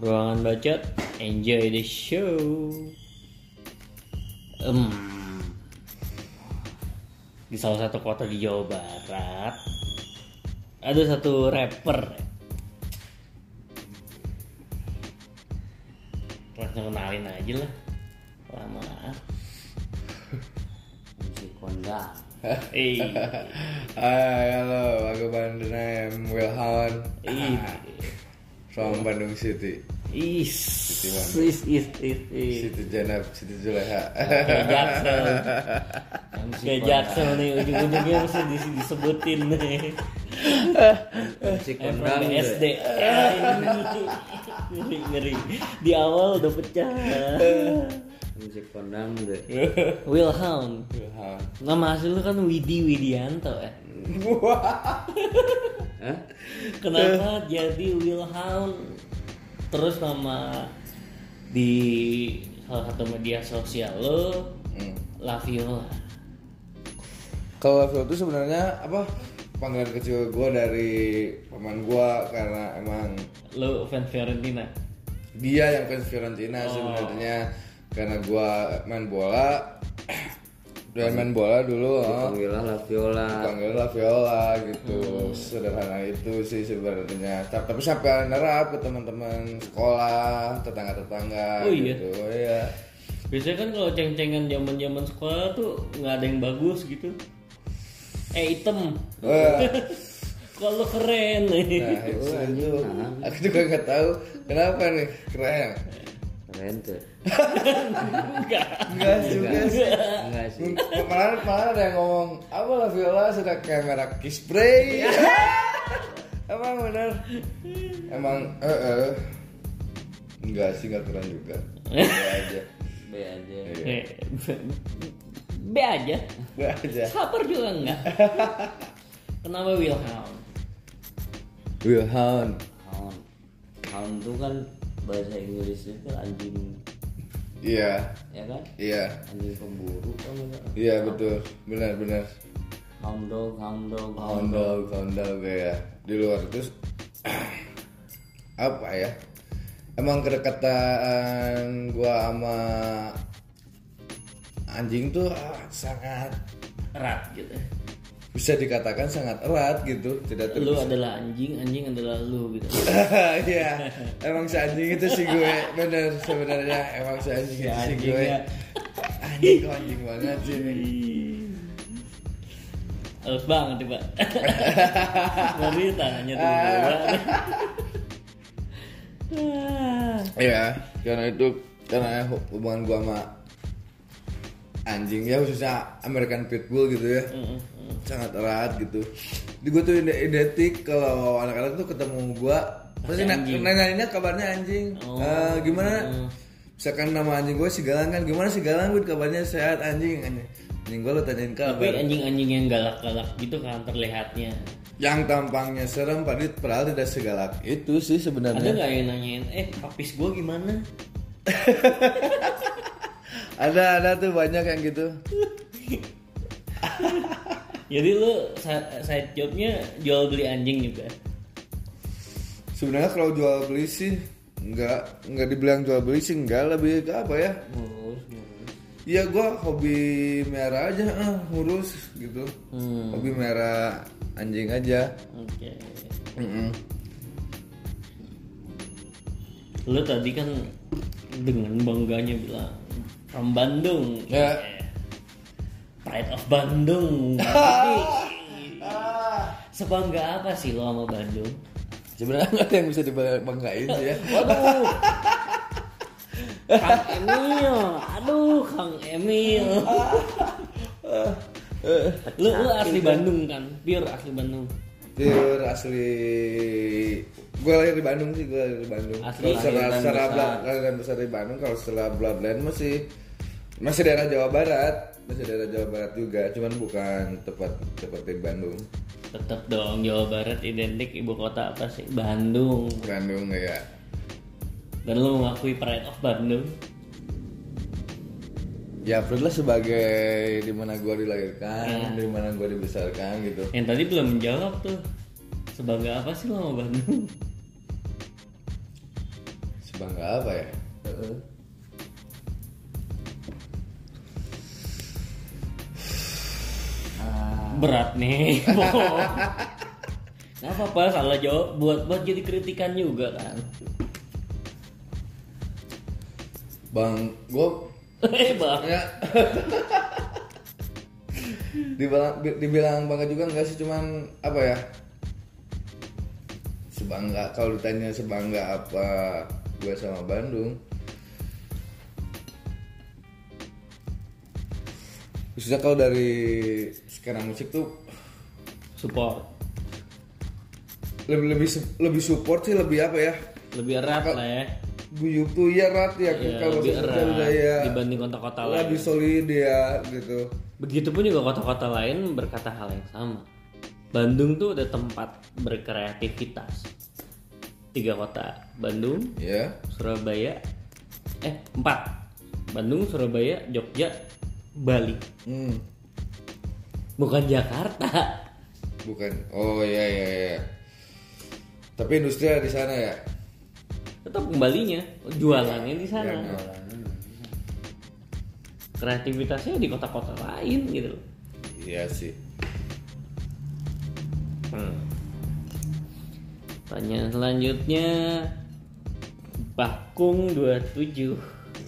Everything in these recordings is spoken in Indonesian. Ruangan bacot, enjoy the show. Em, di salah satu kota di Jawa Barat ada satu rapper. Langsung kenalin aja lah. Lama. Kunci kondang Eh, Hai, halo, aku Bandung I'm Wilhan from Bandung City, is, Wangi. is, is, is, is. City Jenab, City Juleha. Kayak Jaksel. MC Kayak Jaksel nih ujung-ujungnya mesti dis- disebutin nih. kunci kondang Kondang gitu SD. ya. Eh, Ngeri ngeri. Di awal udah pecah. kunci kondang gitu ya. Wilhelm. Wilhan. Nama asli lu kan Widi Widianto ya. Hah? Kenapa jadi Wilhelm? Terus nama di salah satu media sosial lo Hmm. Laviola. Kalau Phil itu sebenarnya apa panggilan kecil gue dari paman gue karena emang Lo fan Fiorentina. dia yang fans Fiorentina sebenarnya karena gue main bola, dan main bola dulu. oh. Dipanggillah La Viola panggil lah viola gitu sederhana itu sih sebenarnya Ta- tapi sampai nerap ke teman-teman sekolah tetangga-tetangga Oh, iya? gitu iya Biasanya kan kalau ceng-cengan zaman-zaman sekolah tuh nggak ada yang bagus gitu. Eh item. Wah, Kalau keren. nah itu, itu. aku juga nggak tahu kenapa nih keren keren tuh enggak juga sih enggak sih kemarin kemarin ada yang ngomong apa lah viola sudah kayak merah kiss spray emang bener emang eh eh. enggak sih nggak keren juga Enggak aja B aja Iya. Eh, B aja. enggak aja Sabar juga enggak. Kenapa Wilhelm? Wilhelm hound hound tuh kan bahasa Inggrisnya tuh anjing Iya, ya kan iya, anjing pemburu kan iya betul, benar-benar. hound dog hound dog hound Hound dog, hound dog ya. Di luar itu apa ya? Emang kedekatan gua sama anjing tuh ah, sangat Erat gitu. bisa dikatakan sangat erat gitu, tidak Lu terpisah. adalah anjing, anjing adalah lu gitu. Iya, emang si anjing itu sih gue bener sebenarnya emang si anjing itu Si sih anjing gue. ya. Anjing kok anjing banget sih ini. Halus banget tiba. Dari tangannya tuh. Ah. Iya, karena itu karena hubungan gua sama anjing ya khususnya American Pitbull gitu ya sangat erat gitu. Di gua tuh ide- identik kalau anak-anak tuh ketemu gua pasti na- nanyainnya kabarnya anjing. Oh. Eh, gimana? Misalkan nama anjing gue si Galang kan, gimana si Galang Bud? kabarnya sehat anjing anjing. Anjing gue lo tanyain Tapi kabar. anjing-anjing yang galak-galak gitu kan terlihatnya. Yang tampangnya serem padahal padahal tidak segalak itu sih Ada sebenarnya. nggak yang nanyain, eh papis gue gimana? Ada ada tuh banyak yang gitu. Jadi lu sa- side jobnya jual beli anjing juga. Sebenarnya kalau jual beli sih nggak nggak dibilang jual beli sih nggak lebih ke apa ya? ngurus ngurus Ya gua hobi merah aja, ah, ngurus gitu. Hobi merah anjing aja. Oke. Mm-mm. Lu tadi kan dengan bangganya bilang from Bandung. Ya. Eh, Pride of Bandung. Tapi sebangga apa sih lo sama Bandung? Sebenarnya nggak ada yang bisa dibanggain sih ya. Waduh. Kang Emil, aduh Kang Emil. lu lu asli Bandung kan? Pure asli Bandung. Pure asli gue lahir di Bandung sih, gue lahir di Bandung. Asli. Kalau secara Lahir dan secara besar. blood- lahir dan besar di Bandung, kalau secara bloodline masih masih daerah Jawa Barat, masih daerah Jawa Barat juga, cuman bukan tempat tempat di Bandung. Tetap dong Jawa Barat identik ibu kota apa sih? Bandung. Bandung ya. Dan lu mengakui Pride of Bandung. Ya Fruit lah sebagai dimana gue dilahirkan, dimana gue dibesarkan gitu. Yang tadi belum menjawab tuh. Sebangga apa sih lo sama Bandung? bangga apa ya Heeh. Ah, berat nih Bob. nggak apa-apa salah jawab buat buat jadi kritikan juga kan bang gue eh bang ya dibilang dibilang bangga juga enggak sih cuman apa ya sebangga kalau ditanya sebangga apa gue sama Bandung khususnya kalau dari skena musik tuh support lebih lebih su- lebih support sih lebih apa ya lebih erat lah ya guyup tuh ya rat ya, Ya, kalau lebih sosial erat budaya dibanding kota-kota lain lebih solid ya gitu Begitupun juga kota-kota lain berkata hal yang sama. Bandung tuh udah tempat berkreativitas. Tiga kota, Bandung, ya Surabaya, eh empat, Bandung, Surabaya, Jogja, Bali. hmm. Bukan Jakarta. bukan oh ya ya ya tapi industri ada di sana ya Tetap kembalinya, jualannya di sana. Iya, Kreativitasnya di kota-kota lain gitu loh. iya sih Hmm. Pertanyaan selanjutnya, Bakung 27.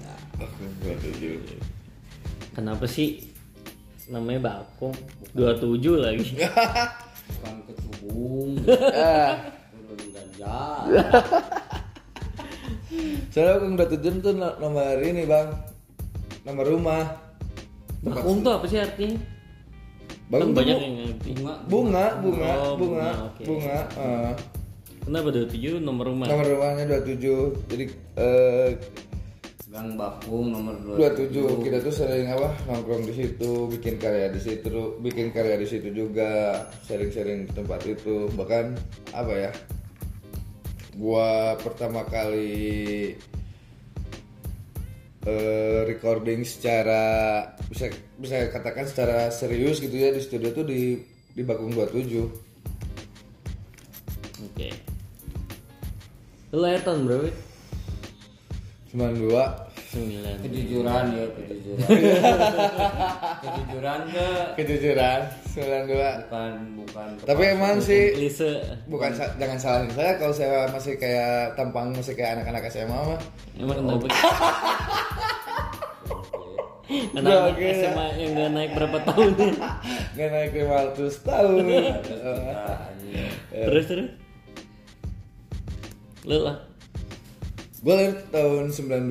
Nah, aku buat tujuh Kenapa sih namanya bakung? 27 lagi. bukan ketubung Turun ganja soalnya aku udah tujuh tuh no- nomor ini bang nomor rumah bakung tuh apa sih artinya? Bang, kan banyak bu- yang ngerti. bunga bunga bunga Oh, bunga bunga, oke. bunga, eh. Kenapa 27 nomor rumah? nomor rumahnya 27 jadi eh, gang bakung nomor 27 kita tuh sering apa nongkrong di situ bikin karya di situ bikin karya di situ juga sering-sering ke tempat itu bahkan apa ya gua pertama kali eh, recording secara bisa bisa katakan secara serius gitu ya di studio tuh di di Bakung 27 Oke. Lu lahir tahun berapa? cuman dua 9. kejujuran ya kejujuran kejujuran ke kejujuran 92 bukan bukan tapi emang sih Lise. bukan sa- jangan salahin saya kalau saya masih kayak tampang masih kayak anak-anak SMA mah Emang kenapa? Udah, Anak oke, ya. SMA yang gak naik berapa tahun nggak naik 500 tahun Eh, Terus terus Lu lah gue lahir tahun 92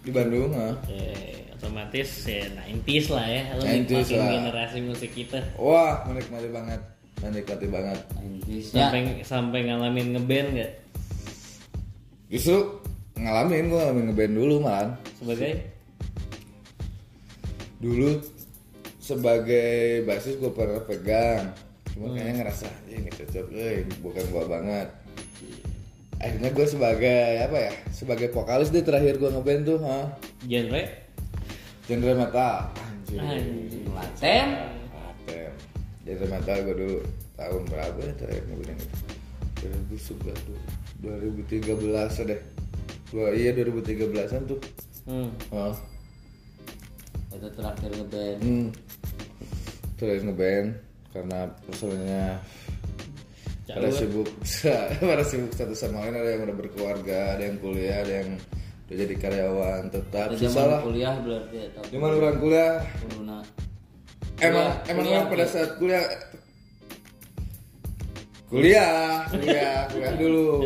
di Bandung ah. Eh, otomatis ya 90s lah ya Lu 90s nikmatin lah. generasi musik kita wah menikmati banget menikmati banget Ya. bisa sampai sampai ngalamin ngeband nggak justru ngalamin gue ngalamin ngeband dulu malahan sebagai dulu sebagai basis gue pernah pegang cuma kayaknya ngerasa "Ih, ini cocok eh bukan gua banget akhirnya gue sebagai apa ya sebagai vokalis deh terakhir gue ngeband tuh ha genre genre metal anjir Anjing. laten ATM Jadi metal gue dulu tahun berapa ya terakhir ngeband yang itu? 2011 2013 deh dua iya 2013an tuh hmm. oh. itu terakhir ngeband hmm. terakhir ngeband karena personilnya pada Jauh. sibuk pada sibuk satu sama lain ada yang udah berkeluarga ada yang kuliah ada yang udah jadi karyawan tetap Itu susah lah zaman kuliah berarti ya tapi cuman orang kuliah corona emang Kuliah, emang kuliah, orang pada saat kuliah kuliah kuliah kuliah dulu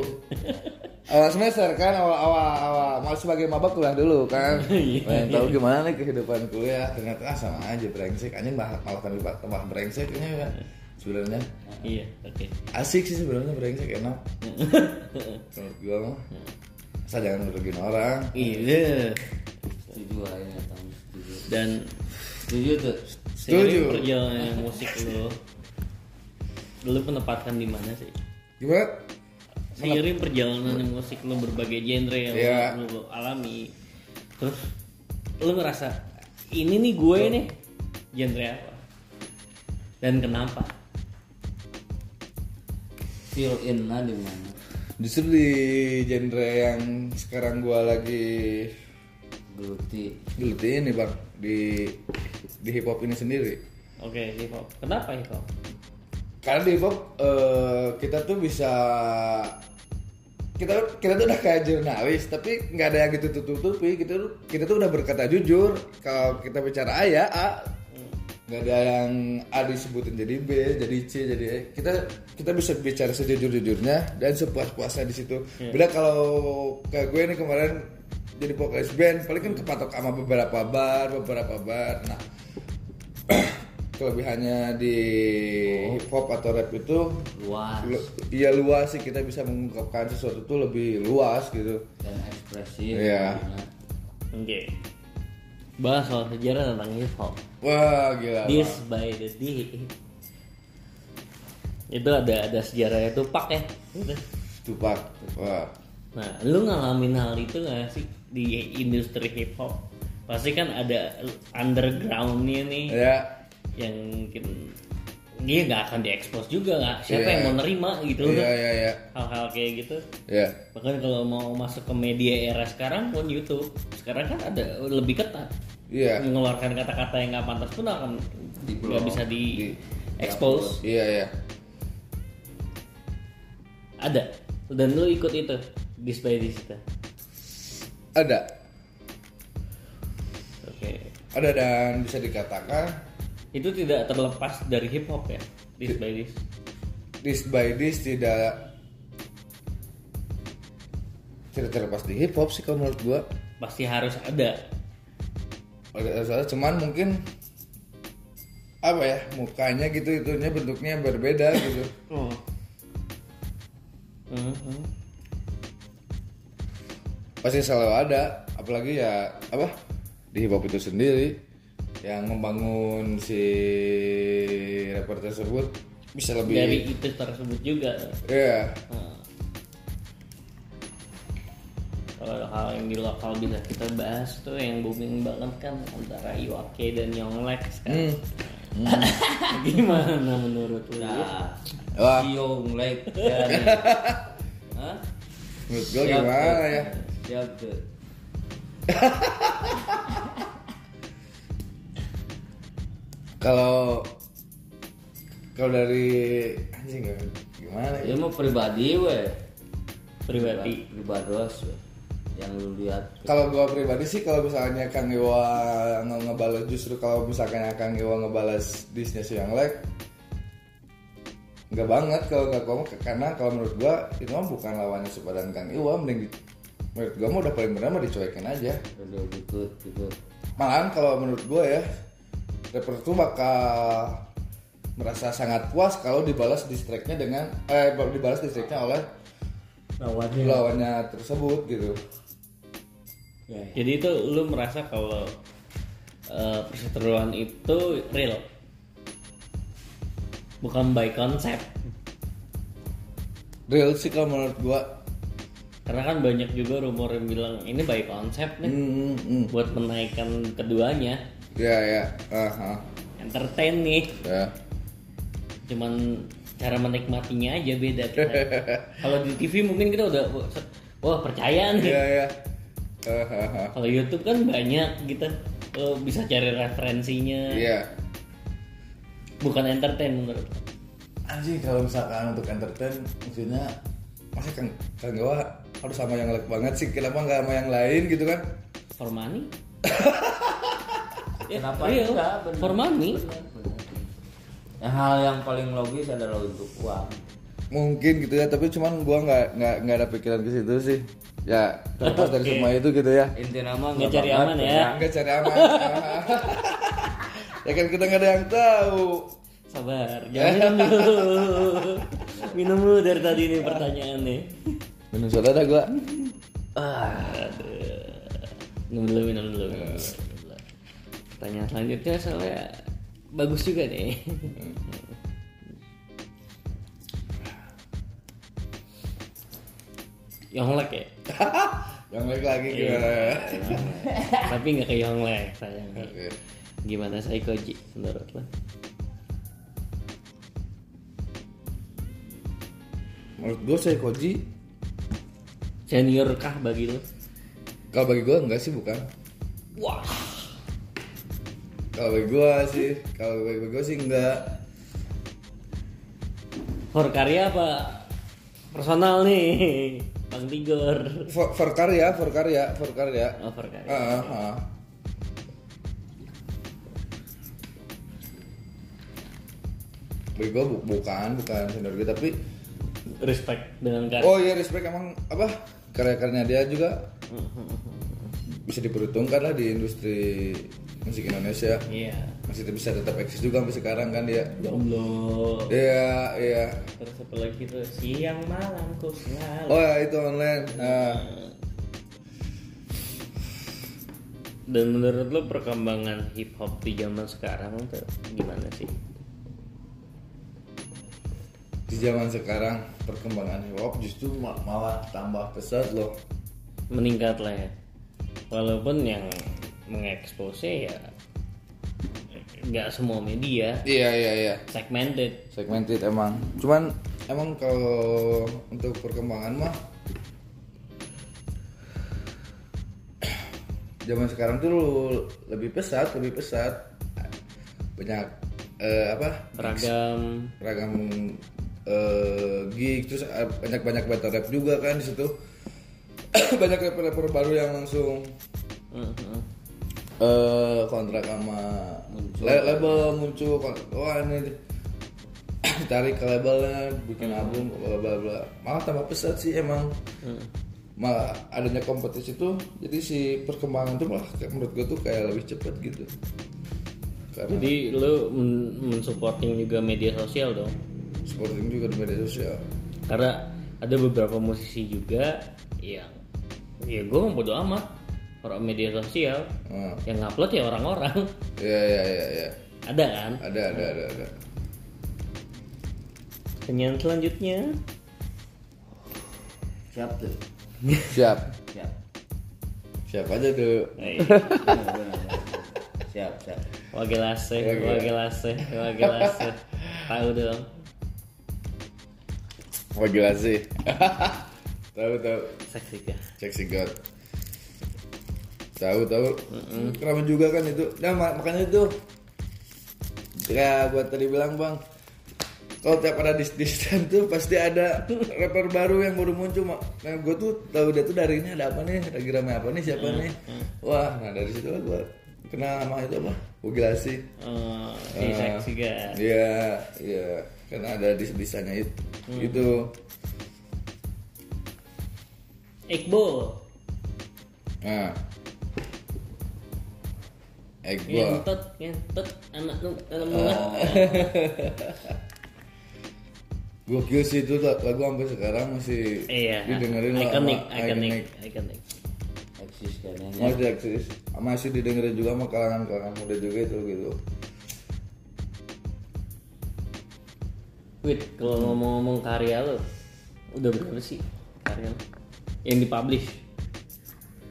awal semester kan awal awal awal mau sebagai maba kuliah dulu kan pengen tahu gimana nih kehidupan kuliah ternyata ah, sama aja brengsek anjing malah malah tambah tambah brengsek ini kan sebenarnya iya oke asik sih sebenarnya brengsek enak menurut gua mah asal jangan ngerugiin orang iya setuju lah ini tahun setuju dan setuju tuh seiring Setuju. perjalanan musik lo lu menempatkan di mana sih gimana seiring perjalanan musik lo berbagai genre yang Iya. lo, lo alami terus lu ngerasa ini nih gue nih genre apa dan kenapa feel in lah di mana Justru di genre yang sekarang gua lagi geluti geluti ini bang di di hip hop ini sendiri. Oke, hip hop. Kenapa hip hop? Karena di hip hop eh, kita tuh bisa kita kita tuh udah kayak jurnalis tapi nggak ada yang gitu tutup tutupi kita tuh kita tuh udah berkata jujur kalau kita bicara A ya A nggak ada yang A disebutin jadi B jadi C jadi E kita kita bisa bicara sejujur jujurnya dan sepuas puasnya di situ beda kalau kayak gue ini kemarin jadi vokalis band paling kan kepatok sama beberapa bar beberapa bar nah kelebihannya di Oh. hip hop atau rap itu luas Lu- Iya luas sih kita bisa mengungkapkan sesuatu tuh lebih luas gitu. dan ekspresif Iya. Nah, Oke. Bahas soal sejarah tentang hip hop. Wah gila. This by the D. Itu ada ada sejarahnya Tupac ya. Udah. Tupak. Wah. Nah, lu ngalamin hal itu gak sih di industri hip hop? Pasti kan ada undergroundnya nih Ya. yang mungkin dia nggak akan diekspos juga nggak siapa Iya. yang mau nerima gitu Iya iya iya. hal-hal kayak gitu Ya. bahkan kalau mau masuk ke media era sekarang pun YouTube sekarang kan ada lebih ketat Iya. mengeluarkan kata-kata yang nggak pantas pun akan Iya. nggak bisa di expose Iya iya. ada dan lu ikut itu this by this itu. Ada. oke Ada dan bisa dikatakan itu tidak terlepas dari hip hop ya this by this this by this tidak tidak terlepas di hip hop sih kalau menurut gua. pasti harus ada Ada- ada- Cuman mungkin apa ya mukanya gitu itunya bentuknya berbeda gitu. oh. Mhm. pasti selalu ada apalagi ya apa di hip hop itu sendiri yang membangun si rapper tersebut bisa lebih dari itu tersebut juga ya Hmm. Kalau ada hal yang di lokal bisa kita bahas tuh yang booming banget kan antara Iwake dan Yonglex kan. Hmm. Gimana menurut lu? nah Wah. siung lek ya nih. Hah? menurut gue Siap, gimana tuh. ya siap tuh kalau kalau dari anjing gimana ya ya mau pribadi weh Pribadi. pribados weh yang lu lihat kalau gua pribadi sih kalau misalnya Kang Iwa nge- ngebalas justru kalau misalkan Kang Iwa ngebalas disnya si yang like nggak banget kalau nggak kamu karena kalau menurut gua itu mah bukan lawannya sepadan Kang Iwa mending di- menurut gua mah udah paling benar mah dicuekin aja udah gitu gitu malahan kalau menurut gua ya rapper tuh bakal merasa sangat puas kalau dibalas distriknya dengan eh dibalas distriknya oleh Lawannya. lawannya tersebut gitu ya Jadi itu lu merasa kalau eh, perseteruan itu real. Bukan by konsep. real sih kalau menurut gua Karena kan banyak juga rumor yang bilang ini by konsep nih Hmm, hmm. buat menaikkan keduanya. Ya ya, Aha. Entertain nih. ya. cuman cara menikmatinya aja beda kita. kalau di TV mungkin kita udah wah percaya nih Ya ya. Hahaha. kalau YouTube kan banyak gitu lo bisa cari referensinya Iya. bukan entertain menurut lo. Anjing kalau misalkan untuk entertain maksudnya masih kan kan gua harus sama yang like banget sih kenapa nggak sama yang lain gitu kan for money Ya, Kenapa real. enggak? Bener. for money Bener, bener. Nah, hal yang paling logis adalah untuk uang. mungkin gitu ya tapi cuman gua nggak nggak nggak ada pikiran ke situ sih ya terlepas dari Oke. semua itu gitu ya Inti nama nggak cari aman ya nggak cari aman ya kan kita nggak ada yang tahu sabar jangan minum dulu minum dulu dari tadi nih pertanyaan nih minum soda dah gua minum Eh, dulu minum dulu minum dulu. pertanyaan selanjutnya soalnya bagus juga nih Yonglek ya? yang like lagi gimana ya Tapi nggak ke Yonglek sayang Oke. Gimana Saikoji menurut lo? menurut gue saya koji senior kah bagi lo? Kalau bagi gue enggak sih bukan. Wah, Kalau bagi gue sih, kalau bagi gue sih enggak. Horkarya apa personal nih, Bang Tigor? For, for karya, for karya, for karya. Oh, Horkarya. Ah, ah, ah. Bagi gue bu- bukan, bukan senior gue tapi Respect dengan karya. oh iya respect emang apa karya-karyanya dia juga bisa diperhitungkan lah di industri musik Indonesia Iya. masih bisa tetap eksis juga sampai sekarang kan dia Ya Allah. Iya, iya. Terus apa lagi tuh? Siang malam ku selalu. Oh ya itu online. Nah, Dan menurut lo perkembangan hip hop di zaman sekarang tuh gimana sih? di zaman sekarang perkembangan hip hop justru ma- malah tambah pesat loh. Meningkat lah ya. Walaupun yang mengekspose ya nggak semua media Iya, iya, iya. segmented. Segmented emang. Cuman emang kalau untuk perkembangan mah zaman sekarang tuh lebih pesat, lebih pesat. Banyak eh, apa? Beragam ragam eh, gig terus banyak banyak battle rap juga kan di situ banyak rapper rapper baru yang langsung Mm-hmm. eh kontrak sama le- label muncul kon- wah ini tarik ke labelnya bikin album bla bla bla malah tambah pesat sih emang malah adanya kompetisi tuh jadi si perkembangan tuh malah kayak menurut gue tuh kayak lebih cepet gitu karena Jadi lo men- mensupporting juga media sosial dong. supporting juga di media sosial Karena ada beberapa musisi juga yang ya gue mau bodo amat orang media sosial Hmm. yang ngupload ya orang-orang Iya iya iya iya. ada kan Ada ada ada ada. pertanyaan selanjutnya siap tuh Siap. siap Siap aja tuh. Eh, Benar, benar, benar. siap siap wakil ase Wakil. wakil ase wakil ase tahu dong Wah gila sih. tahu tahu. seksi ya Cek si God. Tahu tahu. Kenapa juga kan itu. Nah ma- makanya itu. Ya gua tadi bilang bang. Kalau tiap ada dis distan tuh pasti ada rapper baru yang baru muncul. Mak. Nah gue tuh tahu dia tuh dari ini ada apa nih, lagi rame apa nih, siapa nih. Wah, nah dari situ lah gue kenal sama itu apa? Gua sih. Eh, si Eh. seksi guys Iya, iya. Karena ada di sebisanya itu. Itu Iqbal nah. Egbol. ngentot ngentot anak lu anak mulut. Eh. Gokil sih itu la- lagu sampai sekarang masih iya didengerin lah ikonik sama- ikonik ikonik eksis kan ya Masih eksis. Masih didengerin juga sama kalangan-kalangan muda juga itu gitu. Wait, kalau ngomong-ngomong karya lo, udah berapa sih karya lo? Yang dipublish?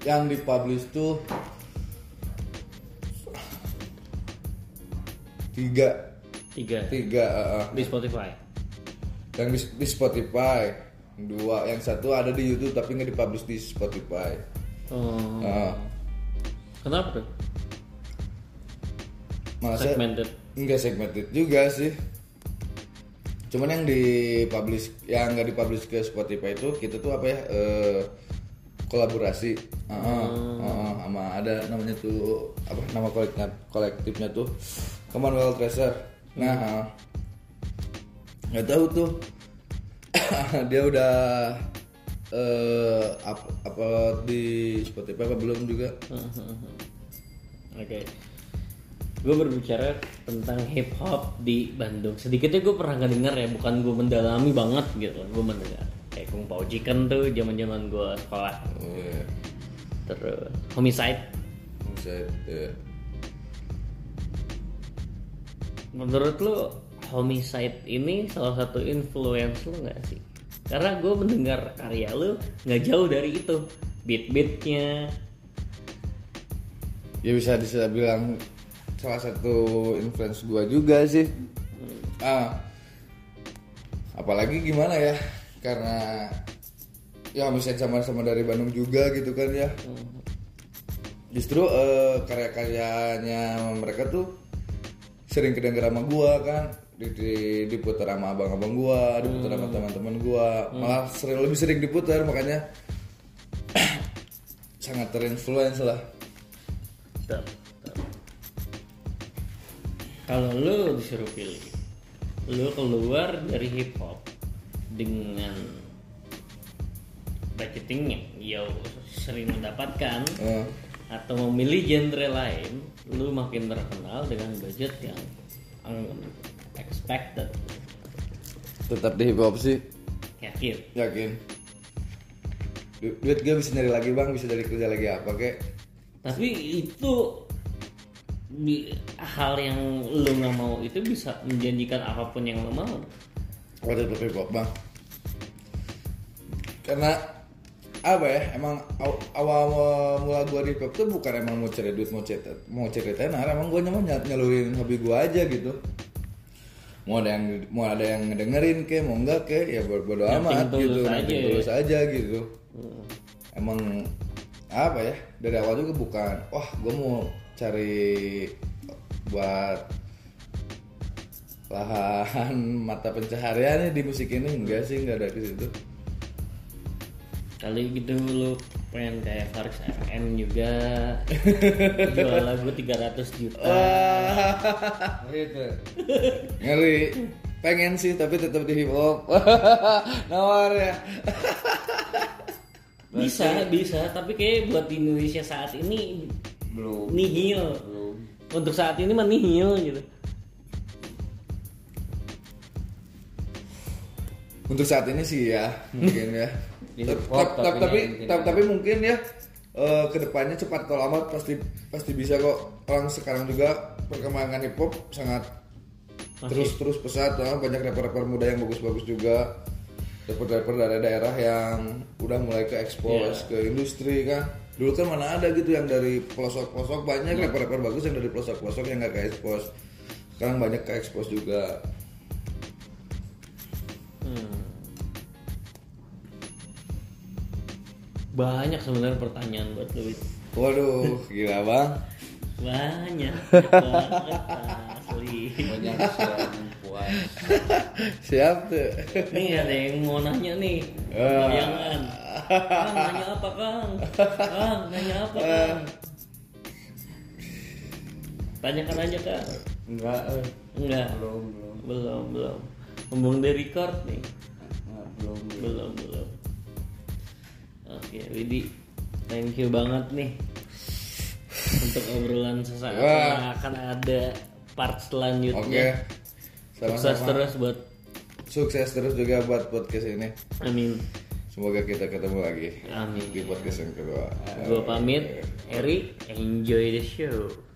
Yang dipublish tuh tiga Tiga. tiga eh, eh. Di Spotify. yang di, di Spotify dua yang satu ada di YouTube tapi nggak dipublish di Spotify Oh, Nah, kenapa tuh? masa Segmented. nggak segmented juga sih cuman yang dipublish yang nggak dipublish ke Spotify itu kita tuh apa ya eh, kolaborasi Ah, Heeh, heeh, sama ada namanya tuh apa nama kolektifnya kolektifnya tuh Commonwealth Tracer nah heeh. nggak tahu tuh dia udah eh apa di Spotify apa belum juga Mm-hmm. Oke. Gue berbicara tentang hip hop di Bandung. Sedikitnya gue pernah ngedenger ya, bukan gue mendalami banget gitu. Gue mendengar. Kayak Kung Pao Chicken tuh zaman-zaman gue sekolah. oh, iya. Terus Homicide. Buset, iya. Menurut lo homicide ini salah satu influence lo nggak sih? Karena gue mendengar karya lo nggak jauh dari itu beat-beatnya. ya bisa bisa bilang salah satu influence gua juga sih ah apalagi gimana ya karena ya misalnya sama-sama dari Bandung juga gitu kan ya justru eh, karya-karyanya mereka tuh sering kedengeran sama gua kan di, di diputar sama abang-abang gua diputar sama teman-teman gua malah sering lebih sering diputar makanya sangat terinfluence lah Tetap, tetap. Kalau lu disuruh pilih, lu keluar dari hip hop dengan budgeting yang ya sering mendapatkan Eh, atau memilih genre lain, lu makin terkenal dengan budget yang unexpected. tetap di hip hop sih Yakin? yakin Du- duit gue bisa nyari lagi bang bisa dari kerja lagi apa kek Tapi itu di- hal yang lu nggak mau itu bisa menjanjikan apapun yang lu mau. Waduh tetap hip hop bang Karena apa ya emang aw- awal, awal mula gua di hip hop tuh bukan emang mau cari duit mau cerita mau cerita tenar emang gua nyaman nyal- nyalurin hobi gua aja gitu mau ada yang mau ada yang ngedengerin ke mau enggak ke ya bodo, bodo Yang penting amat gitu tulus nanti aja Hmm. tulus aja gitu emang apa ya dari awal juga bukan wah gua mau cari buat lahan mata pencaharian nih di musik ini enggak sih enggak ada ke situ Kali gitu lu pengen kayak Faris RM juga jual lagu 300 juta. Eh, gitu ngeri pengen sih tapi tetap di hip hop nawar ya Bisa, bisa, tapi kayak buat di Indonesia saat ini belum nihil. belum Untuk saat ini mah nihil gitu. untuk saat ini sih ya mungkin ya Di Tep- hip hop, tep- tep- tapi tapi mungkin tep- ya. tapi mungkin ya eh, kedepannya cepat atau lambat pasti pasti bisa kok orang sekarang juga perkembangan hip hop sangat terus terus pesat ya. banyak rapper-rapper muda yang bagus-bagus juga rapper-rapper dari daerah yang udah mulai ke Iya. expose ke industri kan dulu kan mana ada gitu yang dari pelosok-pelosok banyak Iya. rapper-rapper bagus yang dari pelosok-pelosok yang nggak ke expose sekarang banyak ke expose juga Hmm. Banyak sebenarnya pertanyaan buat lu. Wid. waduh gila bang Banyak. banget, asli. banyak sih yang puas siap tuh Nih ada yang mau nanya nih. Ah. Bayangan. Kang nanya apa Kang? Kang nanya apa Eh. Kang? Tanyakan aja Kang. enggak eh. Enggak. belum belum Belum, belum. Ngomong di record nih. Enggak, belum belum Belum, belum. Oke, Widi. Thank you banget nih untuk obrolan sesaat Wah. akan ada part selanjutnya. oke Sukses sama-sama terus buat sukses terus juga buat podcast ini Amin. semoga kita ketemu lagi Amin. di podcast yang kedua Gue pamit, Eri, enjoy the show.